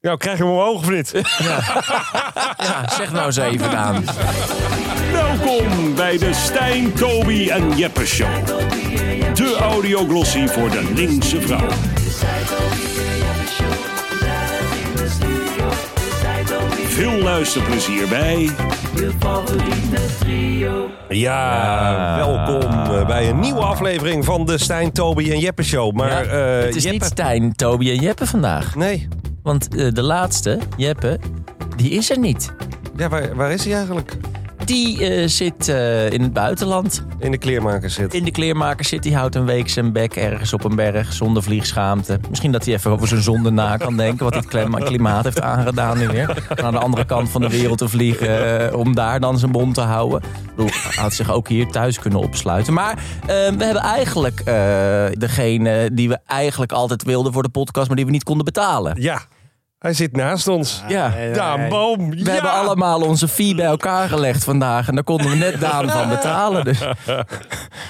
Nou, krijg je hem omhoog of niet? Ja, zeg nou eens even, Daan. Welkom bij de Stijn, Toby en Jeppe Show. De audioglossie voor de linkse vrouw. Veel luisterplezier bij Ja, welkom eh, bij een nieuwe aflevering van de Stijn, Toby en Jeppe Show. Maar Ja, eh, het is Jeppe... niet Stijn, Toby en Jeppe vandaag. Nee, Want eh, de laatste, Jeppe, die is er niet. ja, waar, waar is hij eigenlijk? Die eh, zit eh, in het buitenland. In de kleermaker zit. In de kleermaker zit. Die houdt een week zijn bek ergens op een berg zonder vliegschaamte. Misschien dat hij even over zijn zonde na kan denken. Wat dit klem- klimaat heeft aangedaan nu weer. Naar de andere kant van de wereld te vliegen. eh, om daar dan zijn bond te houden. Ik bedoel, hij had zich ook hier thuis kunnen opsluiten. Maar eh, we hebben eigenlijk eh, degene die we eigenlijk altijd wilden voor de podcast. Maar die we niet konden betalen. Ja, hij zit naast ons. Ja. Daan Boom. We hebben allemaal onze fee bij elkaar gelegd vandaag. En daar konden we net Daan van betalen. Dus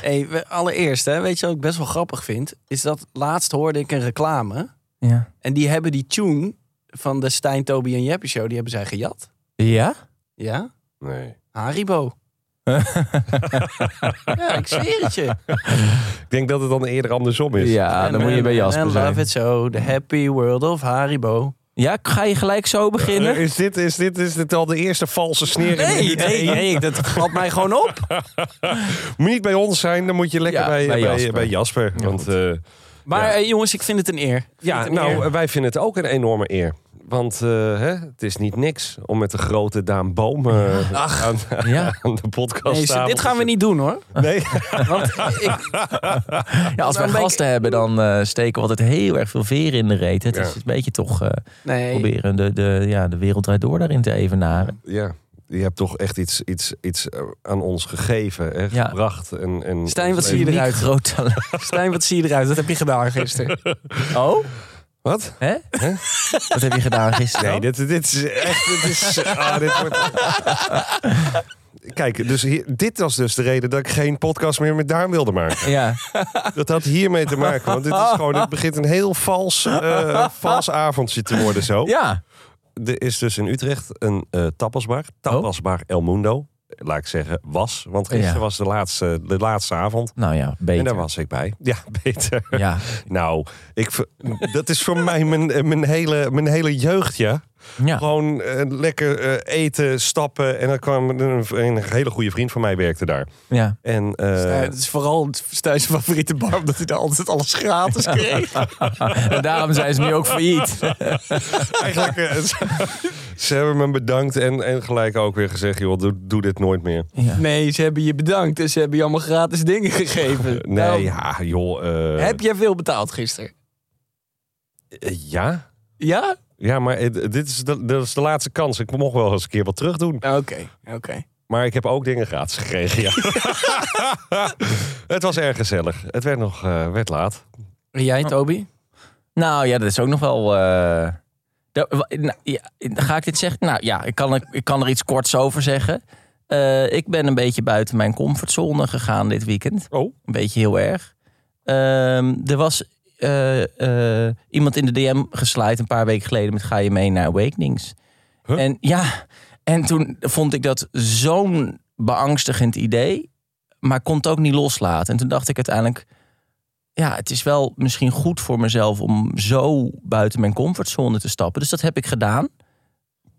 Hey, we- allereerst, hè, weet je wat ik best wel grappig vind? Is dat laatst hoorde ik een reclame. ja. En die hebben die tune van de Stijn, Toby en Jeppe show, die hebben zij gejat. Ja? Ja? Nee. Haribo. ja, ik zweer het je. Ik denk dat het dan eerder andersom is. Ja, dan moet je bij Jasper And zijn. love it so, the happy world of Haribo. Ja, ga je gelijk zo beginnen? Eh, Is dit, is, dit, is dit al de eerste valse snering? Nee, nee, nee. Dat... Valt mij gewoon op. Moet niet bij ons zijn, dan moet je lekker Ja, bij, bij, bij bij Jasper. Jasper. want, eh, Maar Ja. eh, jongens, ik vind het een eer. Ik vind het ja, een nou, eer. wij vinden het ook een enorme eer. Want eh, hè, het is niet niks om met de grote Daan Boom eh, aan, Ja. aan de podcast Nee, dit gaan we niet doen hoor. Nee, Want ik, ja, als we Dan ben ik- gasten hebben, dan eh, steken we altijd heel erg veel veren in de reet. Het Ja. is een beetje toch eh, nee, proberen de, de, ja, de wereld draait door daarin te evenaren. ja, je hebt toch echt iets, iets, iets eh, aan ons gegeven, hè, Ja. gebracht. En, en Stijn, wat zie je Uniek eruit? groot talent. Stijn, wat zie je eruit? Dat heb je gedaan gisteren. Oh? Wat? Hè? Wat heb je gedaan gisteren? Nee, dit, dit is echt... Dit is, ah, dit wordt... Kijk, dus hier- dit was dus de reden dat ik geen podcast meer met Daan wilde maken. Ja. Dat had hiermee te maken. Want dit is gewoon, het begint een heel vals, eh, vals avondje te worden zo. ja. Er is dus in Utrecht een eh tapasbar. Tapasbar El Mundo. Laat ik zeggen, was. Want gisteren Ja. was de laatste, de laatste avond. Nou ja, beter. En daar was ik bij. Ja, beter. Ja. Nou, ik, ver- dat is voor mij mijn, eh, mijn, hele, mijn hele jeugd, ja. ja. Gewoon eh, lekker eh, eten, stappen. En dan kwam een, een hele goede vriend van mij werkte daar. ja. En, eh, Ja, het is vooral Stijn's favoriete bar, omdat hij daar altijd alles gratis kreeg. En daarom zijn ze nu ook failliet. Eigenlijk, eh, ze, ze hebben me bedankt en, en gelijk ook weer gezegd, joh, doe, doe dit nooit meer. Ja. Nee, ze hebben je bedankt en ze hebben je allemaal gratis dingen gegeven. Nee, Daarom- ja, joh. eh, Nou, Heb jij veel betaald gisteren? eh, ja? Ja? Ja, maar eh, dit is de, dat is de laatste kans. Ik mocht wel eens een keer wat terug doen. Nou, Oké, oké. Maar ik heb ook dingen gratis gekregen, ja. het was erg gezellig. Het werd nog eh, werd laat. En jij, Toby? Nou ja, dat is ook nog wel. eh, da- wa- nou, ja, ga ik dit zeggen? Nou ja, ik kan, er- ik kan er iets korts over zeggen. Eh, ik ben een beetje buiten mijn comfortzone gegaan dit weekend. Oh. Een beetje heel erg. Ehm, er was eh, eh, iemand in de DM geslijt een paar weken geleden met ga je mee naar Awakenings. Huh? En ja, en toen vond ik dat zo'n beangstigend idee, maar kon het ook niet loslaten. En toen dacht ik uiteindelijk, ja, het is wel misschien goed voor mezelf om zo buiten mijn comfortzone te stappen. Dus dat heb ik gedaan.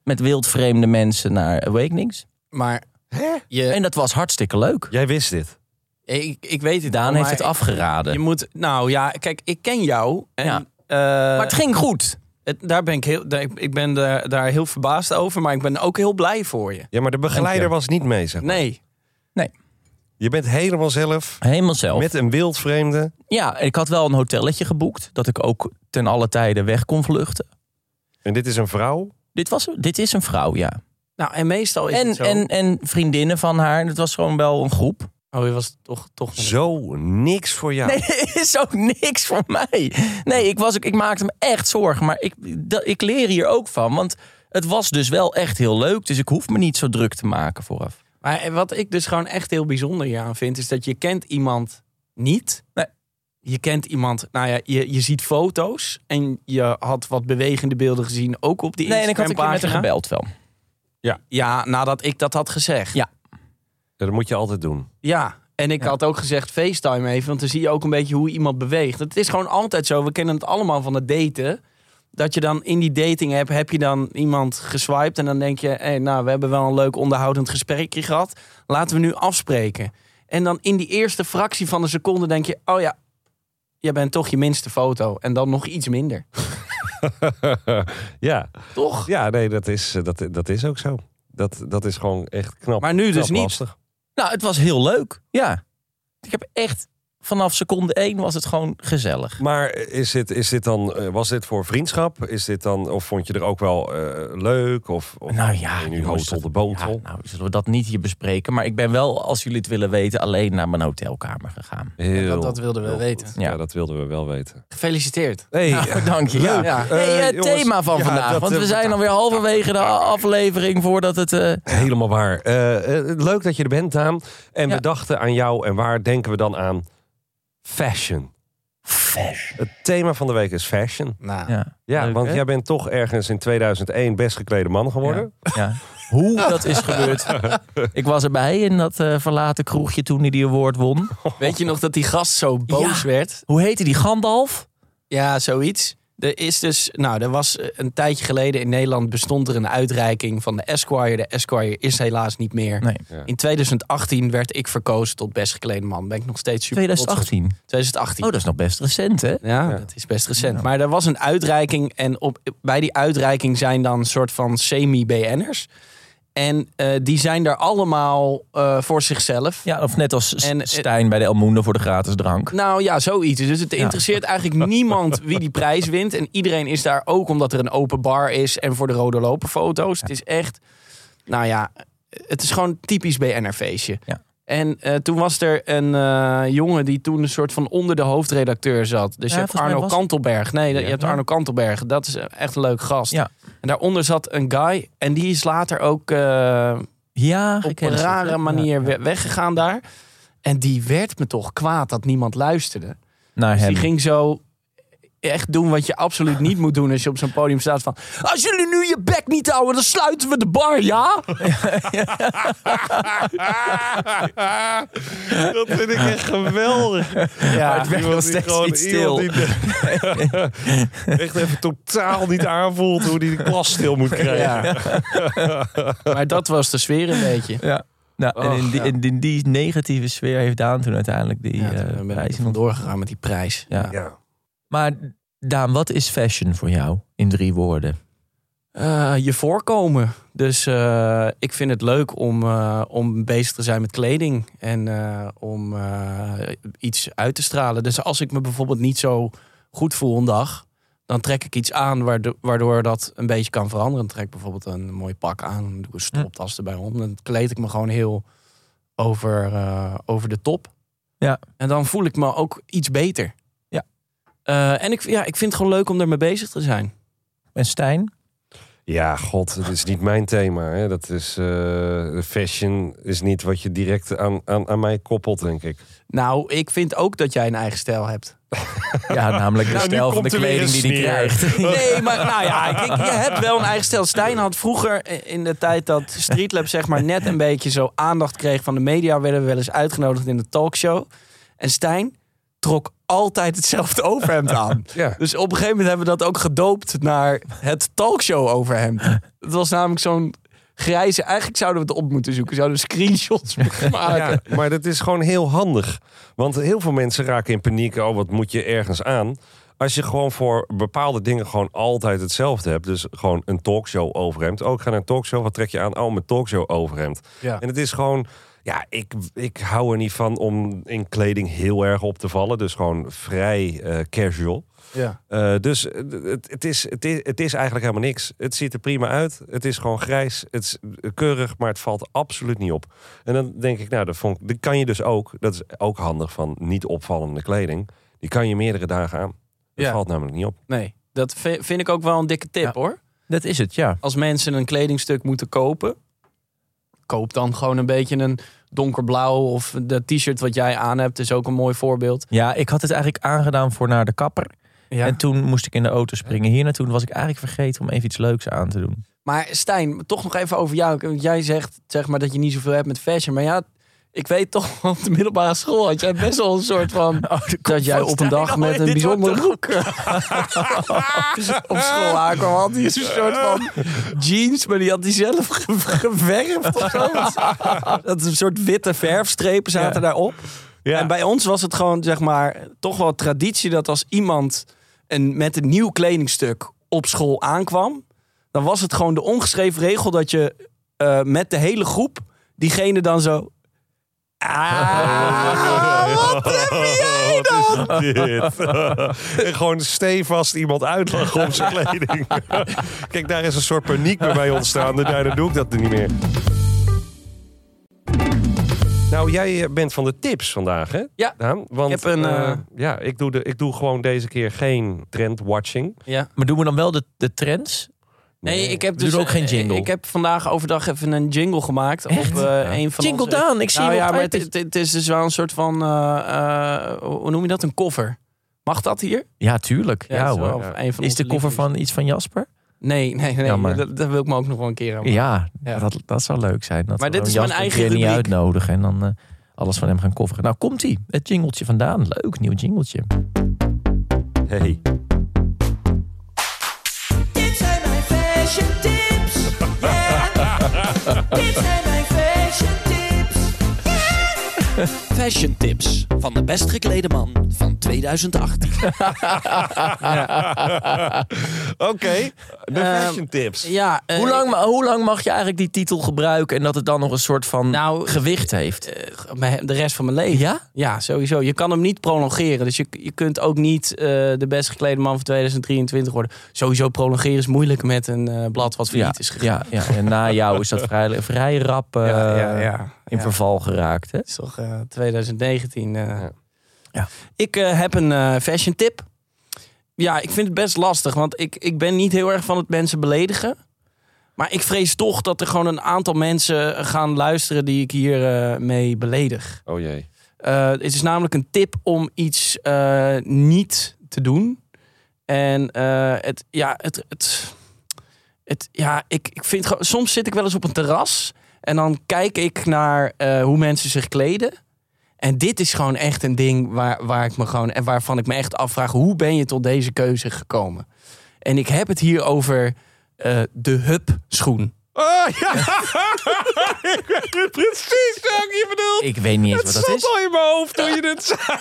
Met wildvreemde mensen naar Awakenings. Maar En je, dat was hartstikke leuk. Jij wist dit. ik, ik weet het Daan wel, heeft het maar afgeraden. Je moet, nou ja, kijk, ik ken jou. En, Ja. eh, maar het ging goed. het- daar ben ik, heel, daar, ik ben daar, daar heel verbaasd over, maar ik ben ook heel blij voor je. Ja, maar de begeleider Dank was niet mee, zeg maar. Nee, Je bent helemaal zelf Helemaal zelf. met een wildvreemde. Ja, ik had wel een hotelletje geboekt. Dat ik ook ten alle tijden weg kon vluchten. En dit is een vrouw. Dit, was, dit is een vrouw, ja. nou en meestal is En, het zo. en, en vriendinnen van haar. Het was gewoon wel een groep. oh, je was toch, toch Zo niks voor jou. Nee, er is ook niks voor mij. Nee, ik, was, ook- ik maakte me echt zorgen. Maar ik, dat- ik leer hier ook van. Want het was dus wel echt heel leuk. Dus ik hoef me niet zo druk te maken vooraf. Maar wat ik dus gewoon echt heel bijzonder hieraan vind, is dat je kent iemand niet. Nee. Je je kent iemand, nou ja, je, je ziet foto's en je had wat bewegende beelden gezien, ook op die Nee, en ik had een keer met hem Instagram-pagina. gebeld wel. Ja, nadat ik dat had gezegd. Ja. Dat moet je altijd doen. Ja, en ik Ja. had ook gezegd FaceTime even, want dan zie je ook een beetje hoe iemand beweegt. Het is gewoon altijd zo, we kennen het allemaal van het daten. Dat je dan in die dating app, heb je dan iemand geswiped en dan denk je, hé, nou, we hebben wel een leuk onderhoudend gesprekje gehad. Laten we nu afspreken. En dan in die eerste fractie van een seconde denk je, oh ja, jij bent toch je minste foto. En dan nog iets minder. ja. Toch? ja, nee, dat is, eh, dat, dat is ook zo. Dat, dat is gewoon echt knap. Maar nu knap dus niet. lastig. Nou, het was heel leuk. Ja. Ik heb echt vanaf seconde één was het gewoon gezellig. Maar is dit, is dit dan, eh, was dit voor vriendschap? Is dit dan, of vond je er ook wel eh, leuk? Of, of Nou ja, nu jongens, hotel dat- de botel. Ja, nou, zullen we dat niet hier bespreken. Maar ik ben wel, als jullie het willen weten, alleen naar mijn hotelkamer gegaan. Heel, dat- dat wilden we heel weten. goed. Ja. Ja. dat wilden we wel weten. Gefeliciteerd. Hey, Nou, dank je. Ja. Ja. Hey, Eh, het jongens, thema van ja, vandaag. dat, want we eh, zijn alweer halverwege de a- aflevering voordat het... eh, Helemaal waar. Eh, eh, leuk dat je er bent, Daan. En Ja. we dachten aan jou. En waar denken we dan aan? Fashion. Fashion. Het thema van de week is fashion. Nou, Ja, Ja, leuk, want hè? jij bent toch ergens in 2001 best geklede man geworden. Ja. Hoe dat is gebeurd. Ik was erbij in dat eh, verlaten kroegje toen hij die award won. weet je nog dat die gast zo boos Ja. werd? Hoe heette die? Gandalf? Ja, zoiets. Er is dus, nou, er was eh, een tijdje geleden in Nederland bestond er een uitreiking van de Esquire. De Esquire is helaas niet meer. Nee. In 2018 werd ik verkozen tot best geklede man. Ben ik nog steeds super trots op. 2018. 2018. Oh, dat is nog best recent, hè? Ja, Ja. dat is best recent. Maar er was een uitreiking en op, bij die uitreiking zijn dan een soort van semi-BN'ers. En eh, die zijn daar allemaal eh, voor zichzelf. Ja, of net als S- En, eh, Stijn bij de Elmoende voor de gratis drank. Nou ja, zoiets. Dus het interesseert eigenlijk niemand wie die prijs wint. En iedereen is daar ook omdat er een open bar is en voor de rode loper foto's. Het is echt, nou ja, het is gewoon typisch BNR-feestje. Ja. En eh, toen was er een eh, jongen die toen een soort van onder de hoofdredacteur zat. Dus Ja, je hebt volgens mij Arno was- Kantelberg. Nee, je hebt Ja. Arno Kantelberg. Dat is echt een leuk gast. Ja. En daaronder zat een guy. En die is later ook... Ah, eh, Ja, op een rare manier we- weggegaan daar. En die werd me toch kwaad dat niemand luisterde. Naar Dus die hem. ging zo echt doen wat je absoluut niet moet doen als je op zo'n podium staat van... Als jullie nu je bek niet houden, dan sluiten we de bar, ja? Dat vind ik echt geweldig. Ja, werd nog die steeds gewoon- niet iemand stil. die echt even totaal niet aanvoelt hoe die de klas stil moet krijgen. maar dat was de sfeer een beetje. Ja. Nou, en in die, ja. in, die- in die negatieve sfeer heeft Daan toen uiteindelijk die Ja, eh, toen ben ik prijs er in van ont- doorgegaan met die prijs. Ja. Ja. Maar Daan, wat is fashion voor jou in drie woorden? Eh, je voorkomen. Dus eh, ik vind het leuk om, eh, om bezig te zijn met kleding. En eh, om eh, iets uit te stralen. Dus als ik me bijvoorbeeld niet zo goed voel een dag... dan trek ik iets aan waardoor, waardoor dat een beetje kan veranderen. Dan trek ik bijvoorbeeld een mooi pak aan. Hm. Dan doe ik een stropdas erbij om. Dan kleed ik me gewoon heel over, eh, over de top. Ja. En dan voel ik me ook iets beter. Ja. Eh, en ik, ja, ik vind het gewoon leuk om ermee bezig te zijn. En Stijn? ja, god, het is niet mijn thema. Hè. Dat is, eh, fashion is niet wat je direct aan, aan, aan mij koppelt, denk ik. Nou, ik vind ook dat jij een eigen stijl hebt. Ja, namelijk de Nou, nu stijl van de komt er weer kleding een die hij sneer. krijgt. Nee, maar nou ja, ik, ik- je hebt wel een eigen stijl. Stijn had vroeger eh, in de tijd dat Streetlab zeg maar net een beetje zo aandacht kreeg van de media, werden we wel eens uitgenodigd in de talkshow. En Stijn trok altijd hetzelfde overhemd aan. Ja. Dus op een gegeven moment hebben we dat ook gedoopt naar het talkshow overhemd. Het was namelijk zo'n grijze. Eigenlijk zouden we het op moeten zoeken. Zouden we screenshots moeten maken. Ja, maar dat is gewoon heel handig. Want heel veel mensen raken in paniek. Oh, wat moet je ergens aan? Als je gewoon voor bepaalde dingen gewoon altijd hetzelfde hebt. Dus gewoon een talkshow overhemd. Oh, ik ga naar een talkshow. Wat trek je aan? Oh, mijn talkshow overhemd. Ja. En het is gewoon... Ja, ik, ik hou er niet van om in kleding heel erg op te vallen. Dus gewoon vrij eh, casual. Ja. Eh, dus het, het, is, het, is, het is eigenlijk helemaal niks. Het ziet er prima uit. Het is gewoon grijs. Het is eh, keurig, maar het valt absoluut niet op. En dan denk ik, nou, dat, vond, ik- dat kan je dus ook. Dat is ook handig van niet opvallende kleding. Die kan je meerdere dagen aan. Dat Ja. valt namelijk niet op. Nee, dat vi- vind ik ook wel een dikke tip Ja. hoor. Dat is het, ja. als mensen een kledingstuk moeten kopen, koop dan gewoon een beetje een donkerblauw. Of dat t-shirt wat jij aan hebt is ook een mooi voorbeeld. Ja, ik had het eigenlijk aangedaan voor naar de kapper. Ja. En toen moest ik in de auto springen. Hier naartoe was ik eigenlijk vergeten om even iets leuks aan te doen. Maar Stijn, toch nog even over jou. Want Jij zegt zeg maar dat je niet zoveel hebt met fashion. Maar ja, ik weet toch, op de middelbare school had jij best wel een soort van... dat jij op een dag met een bijzondere broek op school aankwam. Had hij een soort van jeans, maar die had hij zelf ge- geverfd of zo. Dat is een soort witte verfstrepen zaten Ja. daarop. Ja. En bij ons was het gewoon, zeg maar, toch wel traditie dat als iemand een, met een nieuw kledingstuk op school aankwam, dan was het gewoon de ongeschreven regel dat je eh, met de hele groep diegene dan zo. Ah, wat heb jij dan? Wat is dit? en gewoon stevast iemand uitlachen om zijn kleding. Kijk, daar is een soort paniek bij mij ontstaan. Dus Daarna doe ik dat niet meer. Nou, jij eh, bent van de tips vandaag, hè? Ja. Daan? Want, Ik heb een, eh, eh, ja, ik doe, de, ik doe gewoon deze keer geen trendwatching. Ja. Maar doen we dan wel de, de trends? Nee, ik heb Doe er dus ook geen jingle. Ik heb vandaag overdag even een jingle gemaakt Echt? op eh, een van Jingle onze- Daan, ik zie nou hem ja, op maar het, het het, het is dus wel een soort van, eh, eh, hoe noem je dat, een cover. Mag dat hier? Ja, tuurlijk. Ja, dat is hoor. wel Ja. een van Is onze de koffer liefdes. van iets van Jasper? Nee, nee, nee. Jammer. Dat, dat wil ik me ook nog wel een keer aan. Ja, Ja. Dat, dat zou leuk zijn. Dat Maar we dit dan is mijn Jasper een eigen keer niet rubriek. uitnodigen en dan eh, alles van hem gaan kofferen. Nou, komt ie. Het jingletje vandaan. Leuk, nieuw jingletje. Hey. Dit zijn mijn fashion tips. Yeah. Dit zijn mijn fashion tips. Fashion tips van de best geklede man van 2018. Oké, de fashion tips. Ja, eh, hoe, lang, ma- hoe lang mag je eigenlijk die titel gebruiken en dat het dan nog een soort van Nou, Hm. gewicht heeft? eh, mijn- de rest van mijn leven. ja? Ja, sowieso. Je kan hem niet prolongeren. Dus je, je kunt ook niet eh, de best geklede man van 2023 worden. Sowieso prolongeren is moeilijk met een eh, blad wat Ja, failliet is gegaan. ja, ja. En na jou is dat vrij, vrij rap eh, in Ja. verval geraakt. Hè? Het is toch eh, 2019. eh. Ja. Ja. Ik eh, heb een eh, fashion tip. Ja, ik vind het best lastig, want ik, ik ben niet heel erg van het mensen beledigen. Maar ik vrees toch dat er gewoon een aantal mensen gaan luisteren die ik hier eh, mee beledig. Oh jee. Eh, het is namelijk een tip om iets eh, niet te doen. En eh, het, ja, het, het, het, ja ik, ik vind gewoon, soms zit ik wel eens op een terras en dan kijk ik naar eh, hoe mensen zich kleden. En dit is gewoon echt een ding waar, waar ik me gewoon, en waarvan ik me echt afvraag: hoe ben je tot deze keuze gekomen? En ik heb het hier over eh, de hupschoen. Oh ja! ik weet nu precies wat je bedoelt. Ik weet niet eens wat Het dat zat is. al in mijn hoofd toen je dit zei.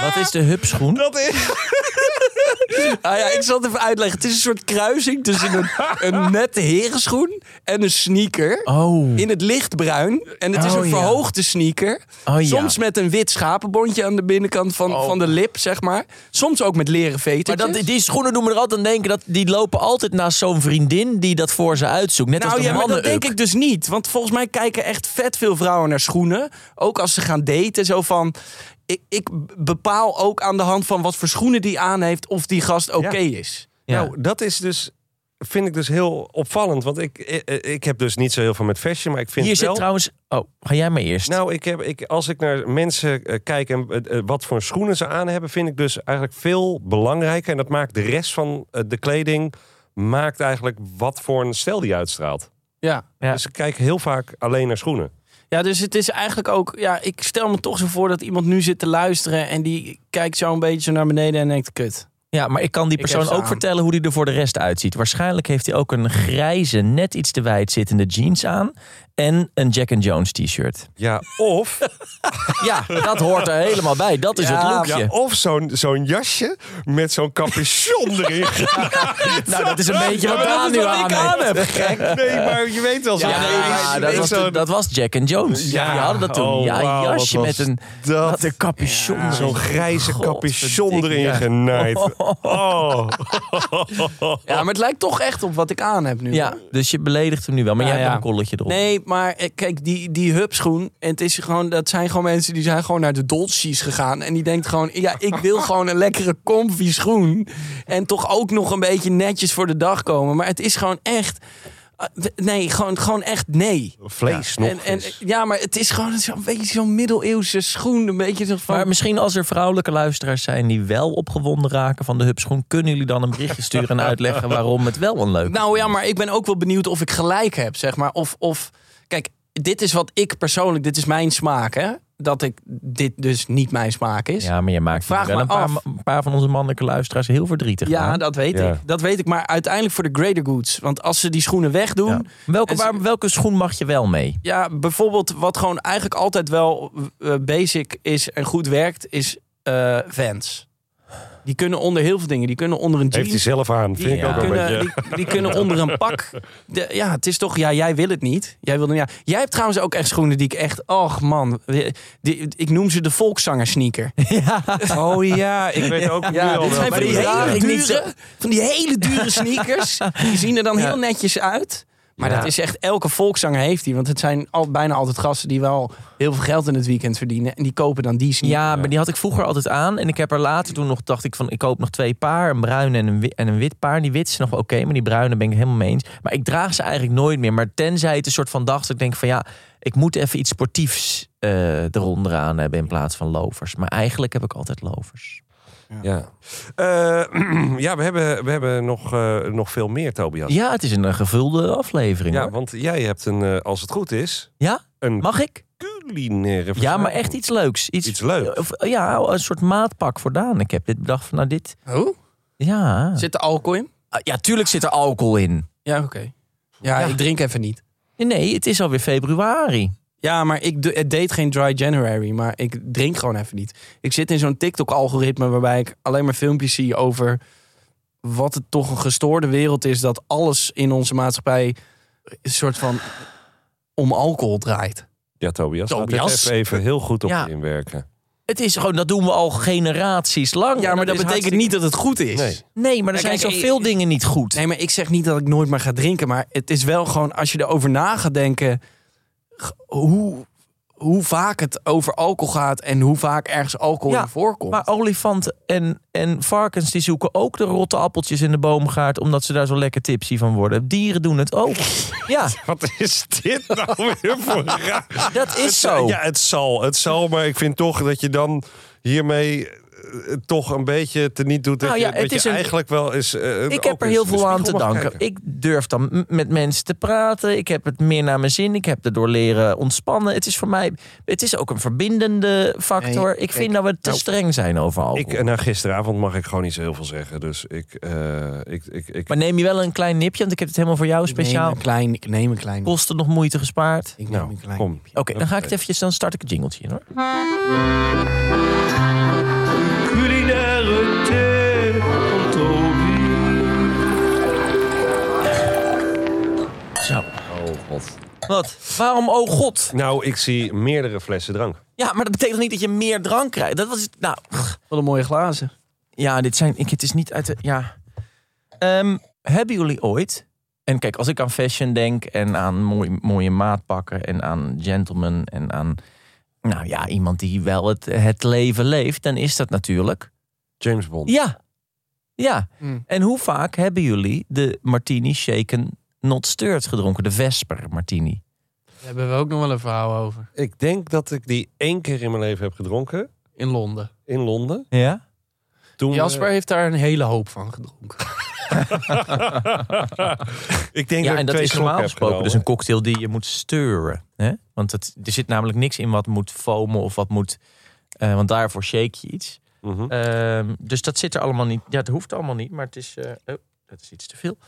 Wat is de hupschoen? Dat is... Ah ja, ik zal het even uitleggen. Het is een soort kruising tussen een, een nette herenschoen en een sneaker. Oh, In het lichtbruin. En het is Oh, een ja. verhoogde sneaker. Oh, ja. Oh. Soms met een wit schapenbondje aan de binnenkant van, van de lip, zeg maar. Soms ook met leren dus. Maar vetertjes. dat, die schoenen doen me er altijd aan denken dat die lopen altijd naast zo'n vriendin die dat voor ze uitzoekt. Net als nou de ja, maar mannen. dat denk ik dus niet. Want volgens mij kijken echt vet veel vrouwen naar schoenen. Ook als ze gaan daten. Zo van, ik, ik bepaal ook aan de hand van wat voor schoenen die aan heeft... of die gast oké is. Ja. Nou, dat is dus... Vind ik dus heel opvallend. Want ik, ik, ik heb dus niet zo heel veel met fashion, maar ik vind Hier wel... zit trouwens. Oh, ga jij maar eerst. Nou, ik heb, ik, als ik naar mensen eh, kijk en eh, eh, wat voor schoenen ze aan hebben, vind ik dus eigenlijk veel belangrijker. En dat maakt de rest van eh, de kleding, maakt eigenlijk wat voor een stijl die uitstraalt. Ja. Ja. Dus ik kijk heel vaak alleen naar schoenen. Ja, dus het is eigenlijk ook. Ja, ik stel me toch zo voor dat iemand nu zit te luisteren. en die kijkt zo een beetje zo naar beneden en denkt: kut. ja, maar ik kan die Ik heb persoon ze ook aan. vertellen hoe die er voor de rest uitziet. Waarschijnlijk heeft hij ook een grijze, net iets te wijd zittende jeans aan. En een Jack and Jones t-shirt. Ja, of, Ja, dat hoort er helemaal bij. Dat is Ja, het ja, lookje. of zo'n zo'n jasje met zo'n capuchon erin. Nou, dat is een beetje wat maar dat Daan is nu wat aan ik heeft. nee, maar je weet wel zo'n Ja, ding. ja, dat, Ik was, zo'n- dat was Jack and Jones. Ja, Ja, die hadden dat toen. oh, ja, wauw, een wat jasje was met een, dat? wat een capuchon. Zo'n grijze capuchon Godverdikke, erin ja. genaaid. Oh. Ja, maar het lijkt toch echt op wat ik aan heb nu. Ja, hoor. dus je beledigt hem nu wel. Maar Ja, jij hebt ja. een kolletje erop. Nee, maar eh, kijk, die, die hupschoen. En het is gewoon, dat zijn gewoon mensen die zijn gewoon naar de Dolce's gegaan. En die denkt gewoon, ja, ik wil gewoon een lekkere comfy schoen. En toch ook nog een beetje netjes voor de dag komen. Maar het is gewoon echt. Ah, d- Nee, gewoon, gewoon echt nee. Vlees nog. En, en, ja, maar het is gewoon zo'n beetje zo'n middeleeuwse schoen. Een beetje zo van... Maar misschien als er vrouwelijke luisteraars zijn die wel opgewonden raken van de hupschoen, kunnen jullie dan een berichtje sturen en uitleggen waarom het wel een leuk is. Nou ja, maar ik ben ook wel benieuwd of ik gelijk heb, zeg maar. Of, of kijk, dit is wat ik persoonlijk, dit is mijn smaak, hè? Dat ik dit dus niet mijn smaak is. Ja, maar je maakt Vraag hier wel me een paar, af. een paar van onze mannelijke luisteraars heel verdrietig. Ja, aan. dat weet Ja. ik. Dat weet ik. Maar uiteindelijk voor de greater goods. Want als ze die schoenen wegdoen. Ja. Ja. Welke, En ze- waar- welke schoen mag je wel mee? bijvoorbeeld wat gewoon eigenlijk altijd wel eh, basic is en goed werkt, is eh Vans. Die kunnen onder heel veel dingen. Die kunnen onder een Heeft hij jeans. zelf aan. Die, Vind ik ook wel een kunnen, beetje. die, die kunnen onder een pak. De- ja, het is toch. Ja, jij wil het niet. Jij, wil, ja. jij hebt trouwens ook echt schoenen die ik echt. Och man. Die- die- ik noem ze de volkszanger sneaker. Oh ja, ik weet ook nu al wel. dit zijn van die, die raar hele ik niet dure, van die hele dure sneakers. Die zien er dan Ja. heel netjes uit. Maar Ja. dat is echt, elke volkszanger heeft die. Want het zijn al, bijna altijd gasten die wel heel veel geld in het weekend verdienen. En die kopen dan die sneakers. Ja, maar die had ik vroeger altijd aan. En ik heb er later toen nog, dacht ik van, ik koop nog twee paar. Een bruin en een wit, en een wit paar. Die wit is nog wel oké, maar die bruine ben ik helemaal mee eens. Maar ik draag ze eigenlijk nooit meer. Maar tenzij het een soort van dag is dat ik denk van, ja, ik moet even iets sportiefs eh eronder aan hebben in plaats van lovers. Maar eigenlijk heb ik altijd lovers. Ja, Eh, ja we, hebben, we hebben nog, eh, nog veel meer, Tobias. Ja, het is een eh, gevulde aflevering. Ja, hoor. want jij hebt een, eh, als het goed is, Ja? een Mag ik? culinaire Ja, verzameling. maar echt iets leuks. Iets, Iets leuks. Of, eh, ja, een soort maatpak voor Daan. Ik heb dit bedacht van, nou dit... Oh, Ja. zit er alcohol in? Ah, Ja, tuurlijk zit er alcohol in. Ja, oké. Ja, ik drink even niet. Nee, het is alweer februari. Ja, maar ik do- het deed geen dry January, maar ik drink gewoon even niet. Ik zit in zo'n TikTok-algoritme waarbij ik alleen maar filmpjes zie over wat het toch een gestoorde wereld is dat alles in onze maatschappij een soort van om alcohol draait. Ja, Tobias, laat dit Tobias. even, even heel goed op Ja. je inwerken. Het is gewoon, dat doen we al generaties lang. Ja, En maar dat is betekent hartstikke- niet dat het goed is. Nee. Nee, maar er Kijk, zijn kijk, zoveel ik- dingen niet goed. Nee, maar ik zeg niet dat ik nooit meer ga drinken. Maar het is wel gewoon, als je erover na gaat denken... g- hoe, hoe vaak het over alcohol gaat... en hoe vaak ergens alcohol Ja, in voorkomt. Maar olifanten en, en varkens die zoeken ook de rotte appeltjes in de boomgaard... omdat ze daar zo lekker tipsy van worden. Dieren doen het ook. ja, Wat is dit nou weer voor raar? dat Het is zal- zo. Ja, het zal, het zal, maar ik vind toch dat je dan hiermee eh, toch een beetje teniet doet. Dat Nou ja, je, dat het je is een- eigenlijk wel eens. eh, Ik ook heb er eens heel in de veel aan te spiegel mag danken. kijken. Ik durf dan m- met mensen te praten. Ik heb het meer naar mijn zin. Ik heb erdoor leren ontspannen. Het is voor mij, het is ook een verbindende factor. Nee, ik kijk, vind dat we te nou, streng zijn over alcohol. Ik, eh, nou, gisteravond mag ik gewoon niet zo heel veel zeggen. Dus ik. eh, ik, ik, ik maar neem je wel een klein nipje, want ik heb het helemaal voor jou Ik Dus neem speciaal. een klein, ik neem een klein. Kosten nog moeite gespaard. Ik neem nou, een klein. kom. Oké, dan ga ik het eventjes, dan start ik het jingeltje in hoor. Zo. Oh, god. Wat? Waarom, oh god? Nou, ik zie meerdere flessen drank. Ja, maar dat betekent niet dat je meer drank krijgt. Dat was het. Nou, Wat een mooie glazen. ja, dit zijn. Ik, het is niet uit de. Ja. Ehm, hebben jullie ooit. En kijk, als ik aan fashion denk en aan mooi, mooie maatpakken en aan gentlemen en aan. Nou ja, iemand die wel het, het leven leeft, dan is dat natuurlijk. James Bond. Ja. Ja. Hmm. En hoe vaak hebben jullie de martini shaken not stirred gedronken? De Vesper martini. Daar hebben we ook nog wel een verhaal over. Ik denk dat ik die één keer in mijn leven heb gedronken. In Londen. In Londen. Ja? Toen we- Jasper heeft daar een hele hoop van gedronken. eh, ik denk Ja, dat en ik dat twee is normaal slokken heb gesproken dus genomen. een cocktail die je moet stirren. Hè? Want het, er zit namelijk niks in wat moet foamen of wat moet... eh, want daarvoor shake je iets. Mhm. Ehm, dus dat zit er allemaal niet. Ja, het hoeft allemaal niet, maar het is... eh, oh, dat is iets te veel.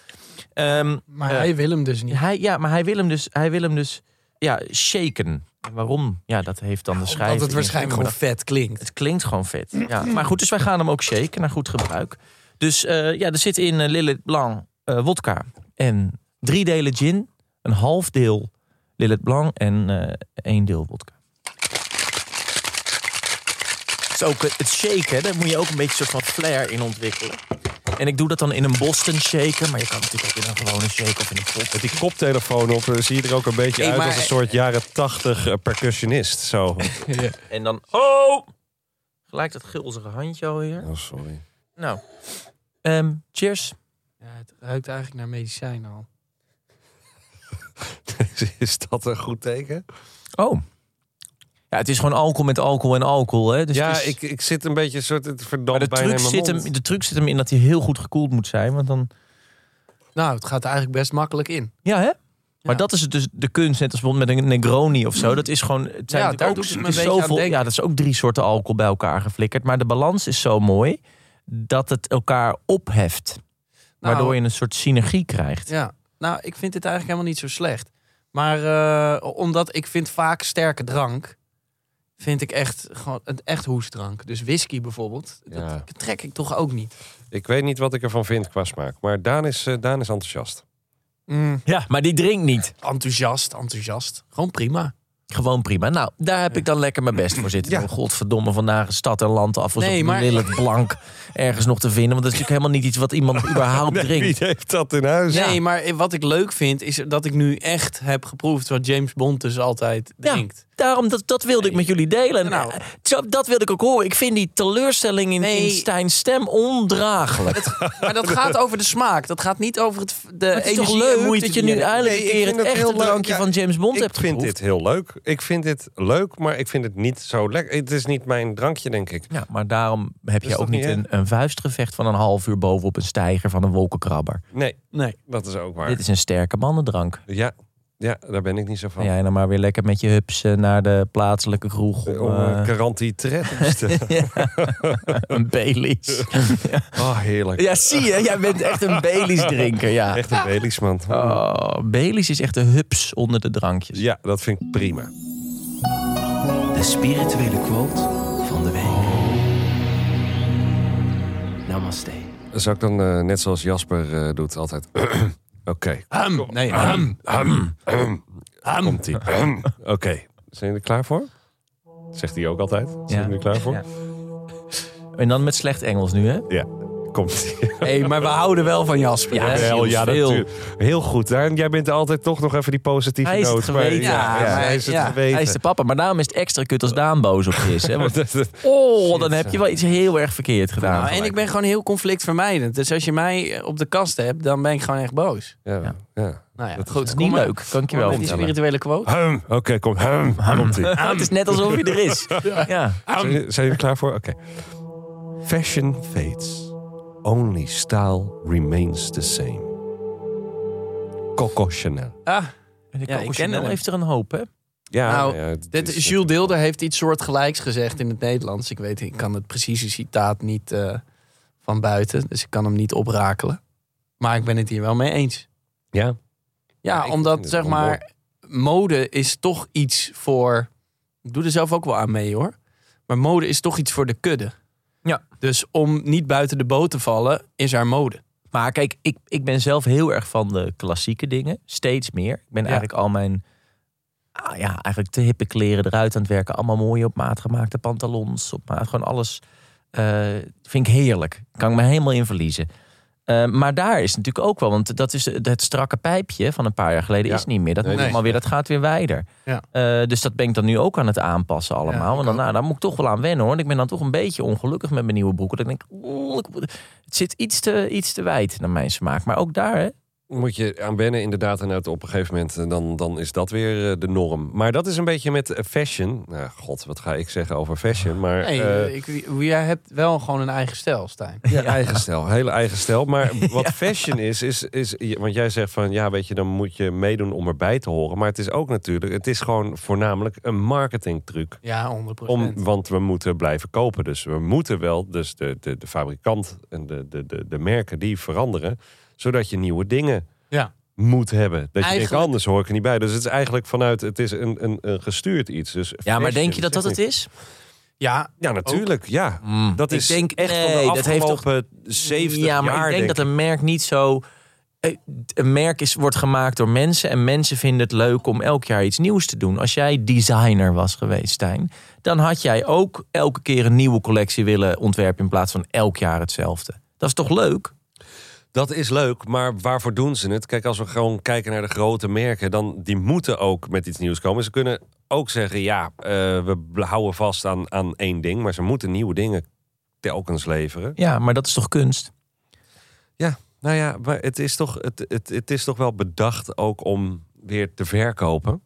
Ehm, Maar Eh, hij wil hem dus niet. hij, ja, maar hij wil hem dus, hij wil hem dus ja, shaken. En waarom? Ja, dat heeft dan de schrijver... Want het waarschijnlijk ingevoerd. gewoon vet klinkt. Het klinkt gewoon vet. Ja. Maar goed, dus wij gaan hem ook shaken naar goed gebruik. Dus eh, ja, er zit in eh, Lillet Blanc eh wodka en drie delen gin, een half deel Lillet Blanc en eh, één deel wodka. Het is ook eh, het shaken, daar moet je ook een beetje soort van flair in ontwikkelen. En ik doe dat dan in een Boston shaker, maar je kan natuurlijk ook in een gewone shaker of in een pot. Met die koptelefoon op eh, zie je er ook een beetje Hey, uit maar- als een soort jaren tachtig eh, percussionist. Zo. En dan, oh! Gelijk dat gulzige handje alweer. Oh, sorry. Nou, ehm, cheers. Ja, het ruikt eigenlijk naar medicijn al. Is, is dat een goed teken? Oh. Ja, het is gewoon alcohol met alcohol en alcohol. Hè? Dus ja, het is- ik, ik zit een beetje een soort het maar verdampt de bijna truc, in mijn zit hem, mond. de truc zit hem in dat hij heel goed gekoeld moet zijn. Want dan... Nou, het gaat eigenlijk best makkelijk in. Ja, hè? Maar dat is het dus de kunst, net als bijvoorbeeld met een Negroni of zo. Dat is gewoon. Het zijn Mm. Ja, natuurlijk daar ook, doet het me is een beetje aan denken. Ja, dat is ook drie soorten alcohol bij elkaar geflikkerd. Maar de balans is zo mooi dat het elkaar opheft. Nou, waardoor je een soort synergie krijgt. Ja, nou, ik vind dit eigenlijk helemaal niet zo slecht. Maar eh, omdat ik vind vaak sterke drank, vind ik echt gewoon een echt hoesdrank. Dus whisky bijvoorbeeld, Ja. dat trek ik toch ook niet. Ik weet niet wat ik ervan vind qua smaak. Maar Daan is, eh, Daan is enthousiast. Ja, maar die drinkt niet. Enthousiast, enthousiast. Gewoon prima. Gewoon prima. Nou, daar heb ik dan lekker mijn best voor zitten. Ja. doen. Godverdomme, vandaag is stad en land af. Alsof Nee, nee, maar- maar... Lillet Blank ergens nog te vinden. Want dat is natuurlijk helemaal niet iets wat iemand überhaupt Wie drinkt. heeft dat in huis? Nee, maar wat ik leuk vind, is dat ik nu echt heb geproefd wat James Bond dus altijd Ja. drinkt. Daarom, dat, dat wilde ik met jullie delen. En, Nou. eh, zo- dat wilde ik ook horen. Ik vind die teleurstelling in, Nee. in Stijn's stem ondraaglijk. Het, Maar dat gaat over de smaak. Dat gaat niet over het, de het is toch energie en leuk moeite dat je die nu hebt. eindelijk Nee, een ik keer vind het het echte heel leuk. drankje Ja, van James Bond Ik hebt vind geproefd. dit heel leuk. Ik vind dit leuk, maar ik vind het niet zo lekker. Het is niet mijn drankje, denk ik. Ja, maar daarom heb is je ook toch niet niet een, een vuistgevecht van een half uur bovenop een stijger van een wolkenkrabber. Nee, Nee. dat is ook waar. Dit is een sterke mannendrank. Ja, ja, daar ben ik niet zo van. En jij dan maar weer lekker met je hups eh, naar de plaatselijke kroeg om, Eh, Om eh, eh, Caranti Trappist te- een Baileys. Oh, heerlijk. ja, zie je, jij bent echt een Baileys drinker, ja. Echt een Baileys, man. Oh, Baileys is echt de hups onder de drankjes. Ja, dat vind ik prima. De spirituele quote van de week. Namaste. Zou ik dan, eh, net zoals Jasper eh, doet, altijd... Oké, Ham. Nee, ham. Ham. komt-ie. Oké, zijn jullie er klaar voor? Zegt hij ook altijd. Zijn jullie er klaar voor? Ja. En dan met slecht Engels nu, hè? Komt-ie. Hey, maar we houden wel van Jasper. Ja, hè? heel Wel, ja, veel. natuurlijk. Heel goed. Daan, jij bent altijd toch nog even die positieve Hij is het noot. maar- geweten. ja, Ja, ja, maar- hij is het ja, geweten. Hij is de papa, maar daarom is het extra kut als Daan boos op je is. Hè? Want, Dat- dat- oh, dan heb je wel iets heel erg verkeerd gedaan. Nou, en ik ben gewoon heel conflictvermijdend. Dus als je mij op de kast hebt, dan ben ik gewoon echt boos. ja, ja. Nou ja, Dat is Dat goed. kom is niet maar- leuk, kan ik je kom maar wel Met die vertellen. spirituele quote. Hum. Oké, kom. Hum. Komt-ie. Ah, het is net alsof hij er is. Ja. Zijn jullie- Zijn jullie klaar voor? Oké. Fashion fades. Only style remains the same. Coco Chanel. Ah, En de Ja, ik Coco ken Chanel hem. heeft er een hoop, hè? Ja, Nou, ja, het dit, is- Jules Deelder heeft iets soortgelijks gezegd in het Nederlands. Ik weet, ik kan het precieze citaat niet eh, van buiten. Dus ik kan hem niet oprakelen. Maar ik ben het hier wel mee eens. Ja. Ja, Ja, ik vind omdat het zeg wel maar, mode is toch iets voor. Ik doe er zelf ook wel aan mee hoor. Maar mode is toch iets voor de kudde. Ja. Dus om niet buiten de boot te vallen, is haar mode. Maar kijk, ik, ik ben zelf heel erg van de klassieke dingen. Steeds meer. Ik ben eigenlijk al mijn ah ja, eigenlijk te hippe kleren eruit aan het werken. Allemaal mooie op maat gemaakte pantalons. Op maat, gewoon alles. eh, vind ik heerlijk. Kan ik me helemaal in verliezen. Eh, maar daar is natuurlijk ook wel, want dat is het strakke pijpje van een paar jaar geleden Ja. is niet meer. Dat Nee, moet nee. allemaal weer, dat gaat weer wijder. Ja. Eh, dus dat ben ik dan nu ook aan het aanpassen allemaal. Ja, want dan, nou, daar moet ik toch wel aan wennen hoor. En ik ben dan toch een beetje ongelukkig met mijn nieuwe broeken. Dat ik denk, oeh, ik moet- het zit iets te, iets te wijd naar mijn smaak. Maar ook daar, hè? Moet je aan wennen inderdaad. En uit op een gegeven moment eh, dan, dan is dat weer eh, de norm. Maar dat is een beetje met eh, fashion. Nou, god, wat ga ik zeggen over fashion. Maar Nee, eh, eh, ik, jij hebt wel gewoon een eigen stijl, Stijn. Ja, eigen stijl. Hele eigen stijl. Maar wat fashion is, is, is... Want jij zegt van, ja, weet je, dan moet je meedoen om erbij te horen. Maar het is ook natuurlijk... Het is gewoon voornamelijk een marketingtruc. Ja, 100%. Om, want we moeten blijven kopen. Dus we moeten wel... Dus de, de, de fabrikant en de, de, de, de merken, die veranderen. Zodat je nieuwe dingen Ja. moet hebben. Dat je denkt, Eigenlijk- anders hoor ik er niet bij. Dus het is eigenlijk vanuit... Het is een, een, een gestuurd iets. Dus Ja, maar fashion denk je dat dat het niet- is? Ja, Ja, natuurlijk. Ja. Dat Ik is denk, echt nee, van de dat heeft toch- afgelopen 70 ja, maar jaar, ik denk, ik. dat een merk niet zo. eh, Een merk is, wordt gemaakt door mensen en mensen vinden het leuk om elk jaar iets nieuws te doen. Als jij designer was geweest, Stijn, dan had jij ook elke keer een nieuwe collectie willen ontwerpen in plaats van elk jaar hetzelfde. Dat is toch leuk? Dat is leuk, maar waarvoor doen ze het? Kijk, als we gewoon kijken naar de grote merken, dan die moeten ook met iets nieuws komen. Ze kunnen ook zeggen, ja, eh, we bl- houden vast aan, aan één ding, maar ze moeten nieuwe dingen telkens leveren. Ja, maar dat is toch kunst? Ja, nou ja, maar het is toch, het, het, het is toch wel bedacht ook om weer te verkopen.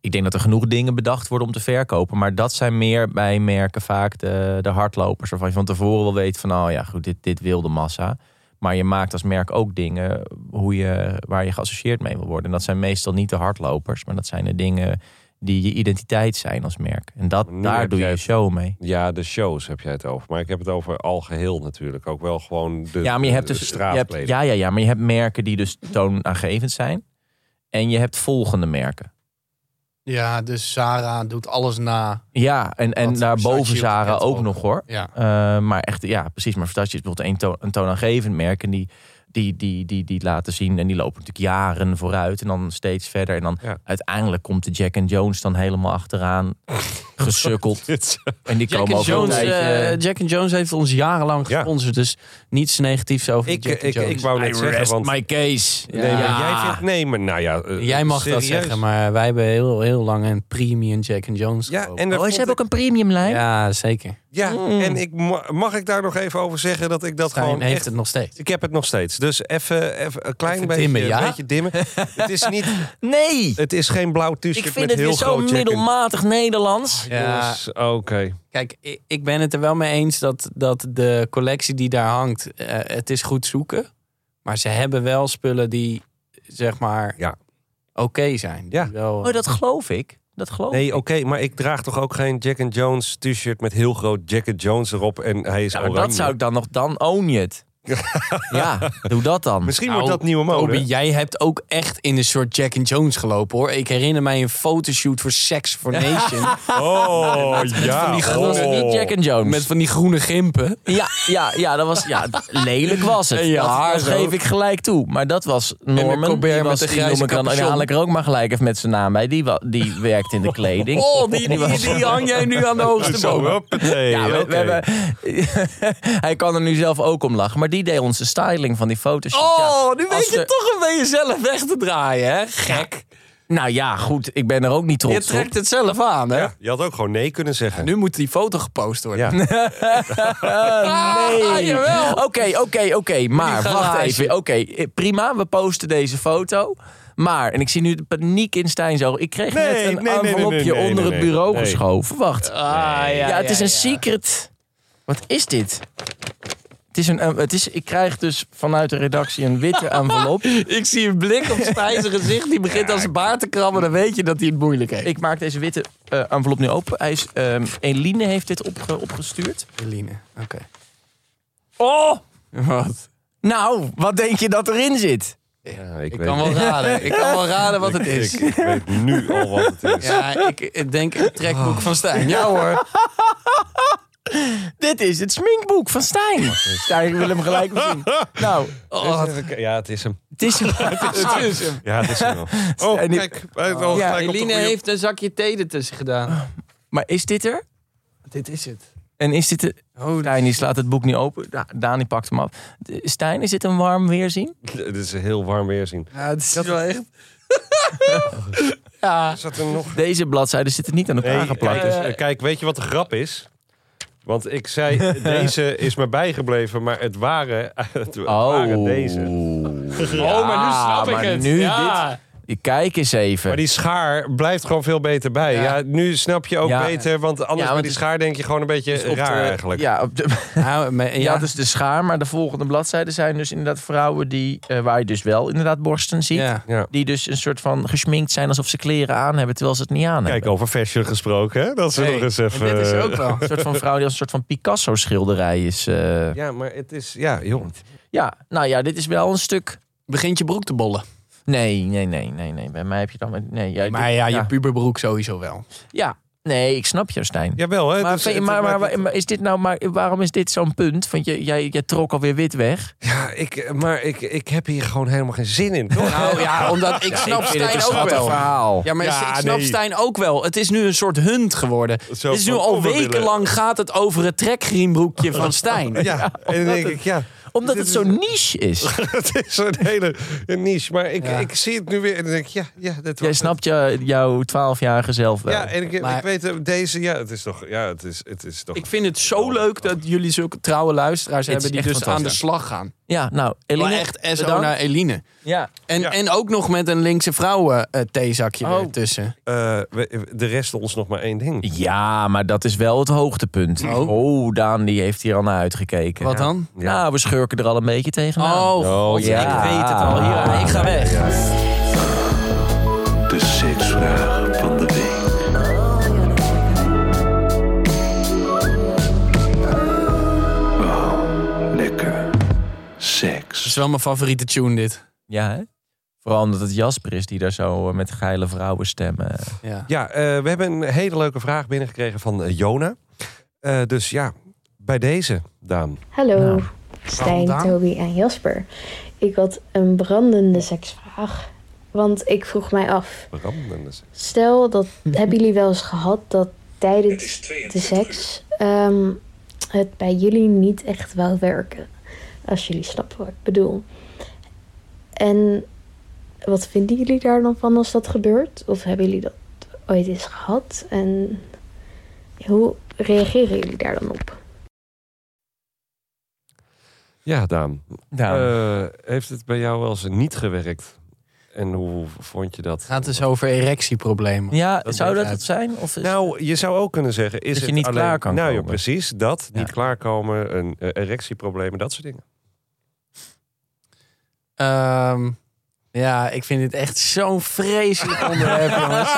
Ik denk dat er genoeg dingen bedacht worden om te verkopen. Maar dat zijn meer bij merken vaak de, de hardlopers. Waarvan je van tevoren wel weet van... oh ja, goed, dit, dit wil de massa. Maar je maakt als merk ook dingen hoe je, waar je geassocieerd mee wil worden. En dat zijn meestal niet de hardlopers. Maar dat zijn de dingen die je identiteit zijn als merk. En dat, Maar nu daar heb doe je jij je het- show mee. Ja, de shows heb jij het over. Maar ik heb het over al geheel natuurlijk. Ook wel gewoon de, ja, maar je hebt de dus je hebt, straatkleding. ja, ja, ja, maar je hebt merken die dus toonaangevend zijn. En je hebt volgende merken. Ja, dus Zara doet alles na. Ja, en, en Want daarboven Versace Zara pakket ook, ook. nog hoor. Ja. Eh, maar echt, ja, precies. Maar Versace is bijvoorbeeld een, toon, een toonaangevend merk. En die, die, die, die, die laten zien. En die lopen natuurlijk jaren vooruit. En dan steeds verder. En dan Ja. uiteindelijk komt de Jack and Jones dan helemaal achteraan. gesukkeld. En die Jack komen and, over Jones, een tijdje- Oh, eh, Jack and Jones heeft ons jarenlang Ja. gesponsord. Dus niets negatiefs over Ik, eh, Jack and ik, Jones. ik wou net I zeggen, rest want my case. Ja. nee, maar jij vindt nee, maar nou ja, eh, Jij mag dat serieus. zeggen, maar wij hebben heel, heel lang een premium Jack and Jones Ja, gekocht. en, daar Oh, ze vond hebben ik- ook Hmm. een premium lijn. ja, zeker. ja, en ik, ma- mag ik daar nog even over zeggen dat ik dat Gewoon gewoon heeft echt het nog steeds. Ik heb het nog steeds. Dus even, even een klein Even beetje, dimmen, ja? een beetje dimmen. het, is niet, Nee! het is geen blauw Ik t-shirt vind met het heel weer zo groot check-in. middelmatig Nederlands. Ja, Dus, Oké. kijk, ik, ik ben het er wel mee eens dat, dat de collectie die daar hangt, eh, het is goed zoeken. Maar ze hebben wel spullen die, zeg maar, Ja. oké zijn. Die Ja. Wel, eh, Oh, dat geloof ik. Dat geloof Nee, ik. oké, maar ik draag toch ook geen Jack and Jones t-shirt met heel groot Jack and Jones erop en hij is Ja, maar oranje. dat zou ik dan nog... Dan own je het. ja, doe dat dan. Misschien Nou, wordt dat nieuwe mode. Toby, jij hebt ook echt in een soort Jack and Jones gelopen hoor. Ik herinner mij een fotoshoot voor Sex for Nation. Oh, ja. van die Dat was oh. niet Jack and Jones. Met van die groene gimpen. Ja, ja, ja, dat was... Ja, lelijk was het. En je dat, haar dat zo. geef ik gelijk toe. Maar dat was Norman. Colbert die met was, de die grijze noem ik dan, capuchon. ja, haal ik er ook maar gelijk even met zijn naam bij. Die, wa- die werkt in de kleding. Oh, die, die, die, hang jij nu aan de hoogste Zo, boom. oh, hoppatee, Ja, we, we oké. hebben, hij kan er nu zelf ook om lachen. Maar die deed onze styling van die foto's. Oh, nu weet Als je er- toch een beetje zelf weg te draaien, hè? Gek. Nou ja, goed. Ik ben er ook niet Je trots op. trekt het zelf aan, hè? Ja, je had ook gewoon nee kunnen zeggen. Nu moet die foto gepost worden. Ja. Ah, Nee. jawel. Oké, oké, oké. Maar Die wacht garage. even. Oké, eh, prima. We posten deze foto. Maar, en ik zie nu de paniek in Stijn's ogen. Ik kreeg Nee, net nee, een nee, nee, envelopje nee, nee, onder nee, het bureau nee. geschoven. Wacht. Ah, ja, het is een secret. Wat is dit? Het is een, eh, het is, ik krijg dus vanuit de redactie een witte envelop. Ik zie een blik op Stijn's gezicht. Die begint als een baard te krabben. Dan weet je dat hij het moeilijk heeft. Ik maak deze witte eh, envelop nu open. Hij is, ehm, Eline heeft dit opge- opgestuurd. Eline, oké. Oh! Wat? Nou, wat denk je dat erin zit? Ja, ik, Ik weet, kan wel raden. Ik kan wel raden wat het ik- is. Ik, ik weet nu al wat het is. Ja, ik, ik denk een trekboek van Stijn. Ja hoor. Dit is het sminkboek van Stijn. Stijn wil hem gelijk weer zien. Nou, Oh, ja, het is hem. het is Het is hem. Ja, het is hem wel. Oh, En die- kijk. hij heeft al Ja, gelijk op de Eline goede- heeft een zakje thee ertussen gedaan. Maar is dit er? Dit is het. En is dit... De... Stijn die slaat het boek niet open. Da Dani pakt hem af. De- Stijn, is dit een warm weerzien? Het is een heel warm weerzien. Ja, het is wel echt... Zat er nog Deze bladzijden zitten niet aan elkaar Nee, geplakt. kijk, dus- eh, kijk, weet je wat de grap is? Want ik zei, deze is me bijgebleven, maar het waren, het waren deze. Ja, Ah, maar Nu dit... Kijk eens even. Maar die schaar blijft gewoon veel beter bij. Ja, nu snap je ook Ja. beter, want anders want met die het- schaar denk je gewoon een beetje Op de- raar eigenlijk. Ja, op de, Nou, maar- Ja, ja, dus de schaar, maar de volgende bladzijden zijn dus inderdaad vrouwen die, eh, waar je dus wel inderdaad borsten ziet. ja. Ja. Die dus een soort van gesminkt zijn alsof ze kleren aan hebben, terwijl ze het niet aan hebben. Kijk, over fashion gesproken, hè? dat is nog eens even... dit is ook wel. Een soort van vrouw die als een soort van Picasso-schilderij is. eh. Ja, maar het is, ja, joh. Ja, nou ja, dit is wel een stuk. Begint je broek te bollen. Nee, nee, nee, nee, nee. Bij mij heb je dan. met- Nee, jij, Maar ja, je ja. puberbroek sowieso wel. ja. nee, ik snap jou, Stijn. Jawel, hè? Maar, dus vind je- het- maar, maar, het- maar is dit nou, maar waarom is dit zo'n punt? Want je, jij, jij trok alweer wit weg. ja, ik, maar ik, ik heb hier gewoon helemaal geen zin in, toch? Nou ja, omdat ik snap Stijn ook wel. verhaal. Ja, maar Ja, ik snap nee. Stijn ook wel. Het is nu een soort hunt geworden. Zo het is nu van, al oh, we willen- wekenlang gaat het over het trekgrienbroekje van Stijn. Ja, en dan denk ik, ja, Omdat dit het zo is- niche is. Het is een hele niche. Maar ik, Ja. ik zie het nu weer en dan denk ik, ja, ja dat Jij was het. snapt je, jouw 12-jarige zelf wel. Ja, en ik, Maar- ik weet eh, deze, ja, het is toch, ja, het is, het is toch. Ik vind het zo leuk dat jullie zulke trouwe luisteraars Het is hebben die echt dus aan de fantastisch. slag gaan. Ja, nou, Maar Eline, echt SO bedankt. naar Eline. Ja. En, Ja. en ook nog met een linkse vrouwen eh theezakje Oh. ertussen. Eh, we- de rest ons nog maar één ding. ja, maar dat is wel het hoogtepunt. Oh. Oh, Daan die heeft hier al naar uitgekeken. Wat dan? Ja. Nou, we schurken er al een beetje tegenaan. Oh, god, ja. ik weet het al. Hier, ik ga weg. De seksvragen van de week. Oh, lekker. Het Seks. is wel mijn favoriete tune dit. Ja, hè? Vooral omdat het Jasper is die daar zo eh, met geile vrouwenstemmen... Ja. Ja, eh, we hebben een hele leuke vraag binnengekregen van eh, Jona. Eh, dus ja, bij deze, Daan. Hallo, Nou, Stijn, Daan? Toby en Jasper. Ik had een brandende seksvraag. Want ik vroeg mij af, Brandende seks. stel dat hebben jullie wel eens gehad dat tijdens de seks ehm, het bij jullie niet echt wou werken. Als jullie snappen wat ik bedoel. En wat vinden jullie daar dan van als dat gebeurt? Of hebben jullie dat ooit eens gehad? En hoe reageren jullie daar dan op? Ja, Daan. Nou, Eh, heeft het bij jou wel eens niet gewerkt? En hoe vond je dat? Het gaat dus over erectieproblemen. ja, dat zou weet dat ik het zijn? Of is... Nou, je zou ook kunnen zeggen... Is dus- Dat je het niet alleen... klaar kan Nou ja, komen. precies. Dat, Ja. niet klaarkomen, een, eh, erectieproblemen, dat soort dingen. Ehm, ja, ik vind dit echt zo'n vreselijk onderwerp, jongens.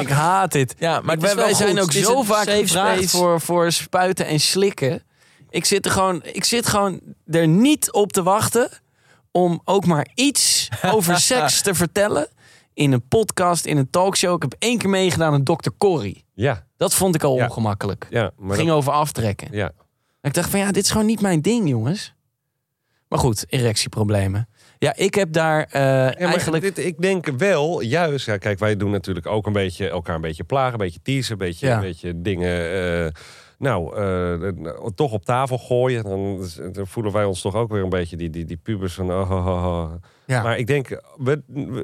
Ik haat dit. ja, maar Ik- het is wij wel wij goed. zijn ook Het is zo een vaak safe gevraagd space. voor, voor spuiten en slikken. Ik zit, er gewoon, ik zit gewoon er niet op te wachten om ook maar iets over seks te vertellen. In een podcast, in een talkshow. Ik heb één keer meegedaan aan Dr. Corrie. Ja, Dat vond ik al Ja. ongemakkelijk. ja. Het Maar ging dat- over aftrekken. ja. Ik dacht van ja, dit is gewoon niet mijn ding, jongens. Maar goed, erectieproblemen. Ja, ik heb daar eh, Ja, maar eigenlijk... dit, ik denk wel, juist. Ja, kijk, wij doen natuurlijk ook een beetje elkaar een beetje plagen, een beetje teasen, een beetje, Ja. een beetje dingen. eh, nou, eh, eh, toch op tafel gooien. Dan, is- dan voelen wij ons toch ook weer een beetje die, die, die pubers van. Oh, oh, oh, oh. Ja. Maar ik denk, we,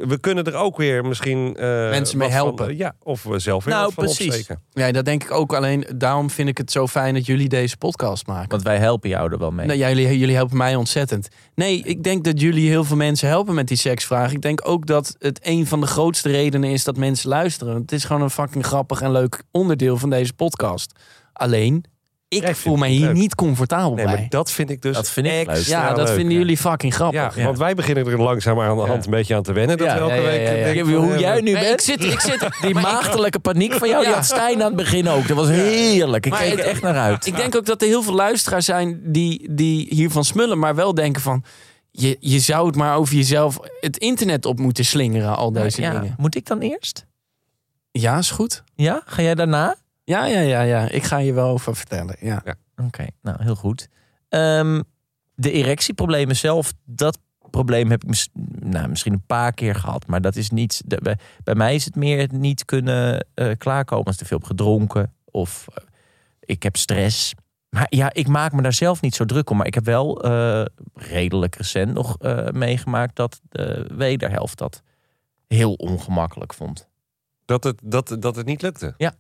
we kunnen er ook weer misschien. eh, Mensen mee wat van- helpen. ja, of we zelf weer Nou, wat van precies. opsteken. Ja, dat denk ik ook. Alleen daarom vind ik het zo fijn dat jullie deze podcast maken. Want wij helpen jou er wel mee. Nou, ja, jullie, jullie helpen mij ontzettend. Nee, ik denk dat jullie heel veel mensen helpen met die seksvraag. Ik denk ook dat het een van de grootste redenen is dat mensen luisteren. Het is gewoon een fucking grappig en leuk onderdeel van deze podcast. Alleen, ik Ja, ik voel vind mij het hier leuk. niet comfortabel Nee, bij. maar dat vind ik dus. Dat vind ik leuk. extra ja, dat leuk, vinden ja. jullie fucking Ja, grappig. want wij beginnen er langzaam aan de hand een beetje aan te wennen. Dat Ja, we elke ja, ja, week. ja, ja. denken Ja, van, hoe eh, jij nu Nee, bent. ik zit, ik zit, Die maagdelijke paniek van jou, die Ja. had Stijn aan het begin ook. Dat was heerlijk. Ik Maar keek ik- er echt naar uit. Ik denk ook dat er heel veel luisteraars zijn die, die hiervan smullen, maar wel denken van. Je, je zou het maar over jezelf het internet op moeten slingeren, al deze ja, dingen. Moet ik dan eerst? Ja, is goed. Ja? Ga jij daarna? Oké, Ja, ja, ja, ja. Ik ga je wel over vertellen. Ja. nou heel goed. Ehm, de erectieproblemen zelf, dat probleem heb ik mis- nou, misschien een paar keer gehad. Maar dat is niet. de- bij, bij mij is het meer het niet kunnen eh, klaarkomen als ik te veel heb gedronken. Of eh, ik heb stress. Maar ja, ik maak me daar zelf niet zo druk om. Maar ik heb wel eh, redelijk recent nog eh, meegemaakt dat de wederhelft dat heel ongemakkelijk vond. Dat het, dat, dat het niet lukte. Ja.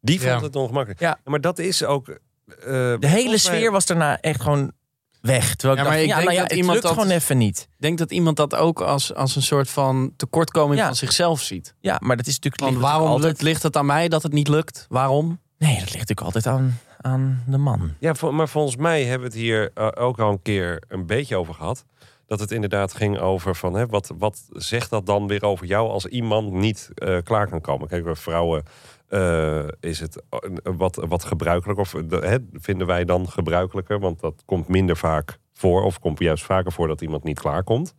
Die vond Ja. het ongemakkelijk. Ja. Maar dat is ook. eh, De volgens hele mij- sfeer was daarna echt gewoon weg. Terwijl ik Ja, maar dacht, ik ja, denk nou ja, dat het iemand lukt dat- gewoon even niet. Ik denk dat iemand dat ook als, als een soort van tekortkoming Ja. van zichzelf ziet. Ja, maar dat is natuurlijk... Want ligt natuurlijk waarom altijd, lukt- ligt het aan mij dat het niet lukt? Waarom? Nee, dat ligt natuurlijk altijd aan, aan de man. Ja, vol- maar volgens mij hebben we het hier eh, ook al een keer een beetje over gehad. Dat het inderdaad ging over van hè, wat, wat zegt dat dan weer over jou als iemand niet eh, klaar kan komen? Kijk, bij vrouwen eh, is het eh, wat, wat gebruikelijk, of de- hè, vinden wij dan gebruikelijker, want dat komt minder vaak voor, of komt juist vaker voor dat iemand niet klaar komt.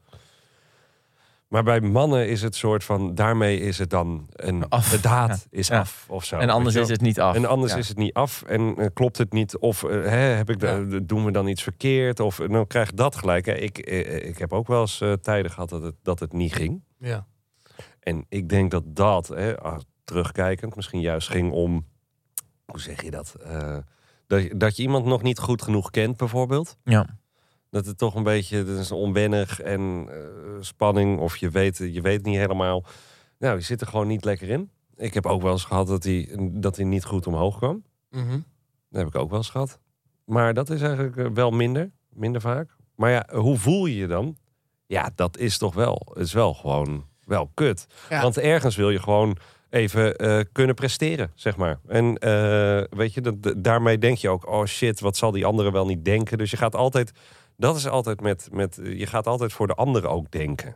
Maar bij mannen is het soort van, daarmee is het dan een Af. de daad is Ja. af of zo. en anders weet je wel? is het niet af. En anders Ja. is het niet af en eh, klopt het niet. Of eh, hè, heb ik, da- doen we dan iets verkeerd? Of eh, nou krijg ik dat gelijk. Hè, ik, eh, ik heb ook wel eens eh, tijden gehad dat het, dat het niet ging. Ja. En ik denk dat dat, hè, ah, terugkijkend, misschien juist ging om... Hoe zeg je dat? Eh, dat, je- dat je iemand nog niet goed genoeg kent, bijvoorbeeld. Ja. Dat het toch een beetje dat is onwennig en eh, spanning. Of je weet, je weet niet helemaal. Nou, je zit er gewoon niet lekker in. Ik heb ook wel eens gehad dat hij, dat hij niet goed omhoog kwam. Mhm. Dat heb ik ook wel eens gehad. Maar dat is eigenlijk eh, wel minder. Minder vaak. Maar ja, hoe voel je je dan? Ja, dat is toch wel. is wel gewoon wel kut. Ja. Want ergens wil je gewoon even eh, kunnen presteren, zeg maar. En eh, weet je, dat, dat- daarmee denk je ook... oh shit, wat zal die andere wel niet denken? Dus je gaat altijd... Dat is altijd met... met eh, je gaat altijd voor de anderen ook denken.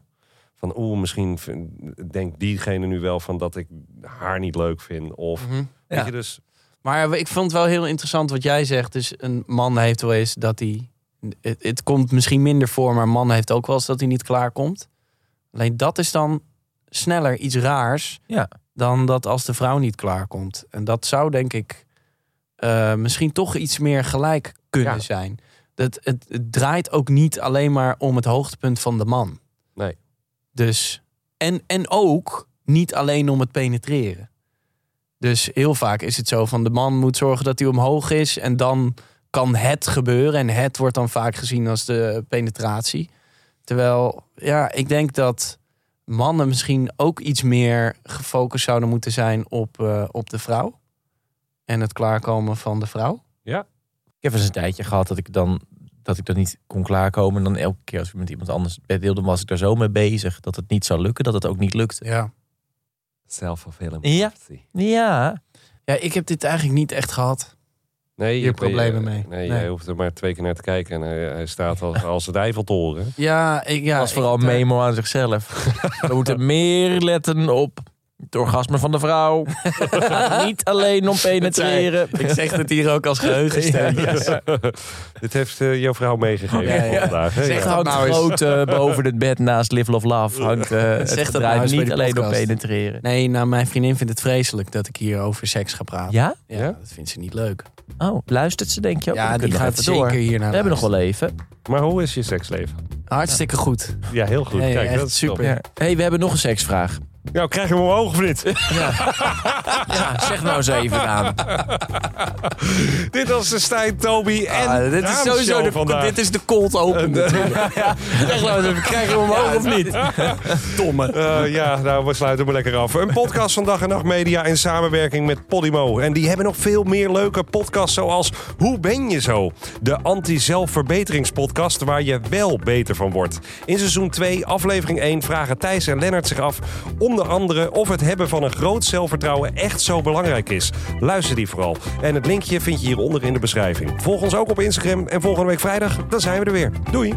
Van oeh, misschien vind- denkt diegene nu wel van dat ik haar niet leuk vind. Of Mhm. weet Ja. je, dus Maar ik vond het wel heel interessant wat jij zegt. Dus een man heeft wel eens dat hij. Het, het komt misschien minder voor, maar een man heeft ook wel eens dat hij niet klaarkomt. Alleen dat is dan sneller iets raars Ja. dan dat als de vrouw niet klaarkomt. En dat zou denk ik eh, misschien toch iets meer gelijk kunnen Ja. zijn. Dat, het, het draait ook niet alleen maar om het hoogtepunt van de man. Nee. Dus, en, en ook niet alleen om het penetreren. Dus heel vaak is het zo van de man moet zorgen dat hij omhoog is en dan kan het gebeuren. En het wordt dan vaak gezien als de penetratie. Terwijl, ja, ik denk dat mannen misschien ook iets meer gefocust zouden moeten zijn op, eh, op de vrouw. En het klaarkomen van de vrouw. Ik heb eens een tijdje gehad dat ik dan dat ik dat niet kon klaarkomen. En dan elke keer als ik met iemand anders het bed deelde, was ik daar zo mee bezig dat het niet zou lukken, dat het ook niet lukte. Ja. self-fulfilling Ja. prophecy. Ja, Ja, ik heb dit eigenlijk niet echt gehad. Nee, ben Hier je- problemen mee. Nee, Nee. jij hoeft er maar twee keer naar te kijken en eh, hij, hij staat als, als het Eiffeltoren. Ja, ik, ja, was vooral ik- eh, een memo aan zichzelf. We moeten meer letten op het orgasme van de vrouw. Het gaat niet alleen om penetreren. Ik zeg het hier ook als geheugensteun. Dit heeft eh, jouw vrouw meegegeven Ja, ja. vandaag. hè? Zeg Ja. dat Hangt nou eens. groot eh, boven het bed naast Live Love Love. Hangt, eh, het Zeg draait dat nou eens bij niet die alleen om podcast. penetreren. Nee, nou, mijn vriendin vindt het vreselijk dat ik hier over seks ga praten. Ja? Ja, Ja? dat vindt ze niet leuk. Oh, luistert ze denk je ook? ja, We die kunnen nog gaat even zeker hier naar We hebben nog wel even. Maar hoe is je seksleven? Hartstikke goed. Ja, heel goed. Nee, Kijk, echt dat is super. top. Ja. hey, we hebben nog een seksvraag. Nou, krijg je hem omhoog of niet? Ja, zeg nou eens even aan. dit was de Stijn, Toby en Ah, dit is Daanshow sowieso de, vandaag. dit is de cold open. natuurlijk. Zeg nou eens even, krijgen we hem omhoog of niet? Eh, ja, nou, we sluiten maar lekker af. Een podcast van Dag en Nacht Media in samenwerking met Podimo. En die hebben nog veel meer leuke podcasts zoals Hoe ben je zo? De anti-zelfverbeteringspodcast waar je wel beter van wordt. In seizoen 2, aflevering 1 vragen Thijs en Lennart zich af... onder andere of het hebben van een groot zelfvertrouwen echt zo belangrijk is. Luister die vooral. En het linkje vind je hieronder in de beschrijving. Volg ons ook op Instagram en volgende week vrijdag, dan zijn we er weer. Doei!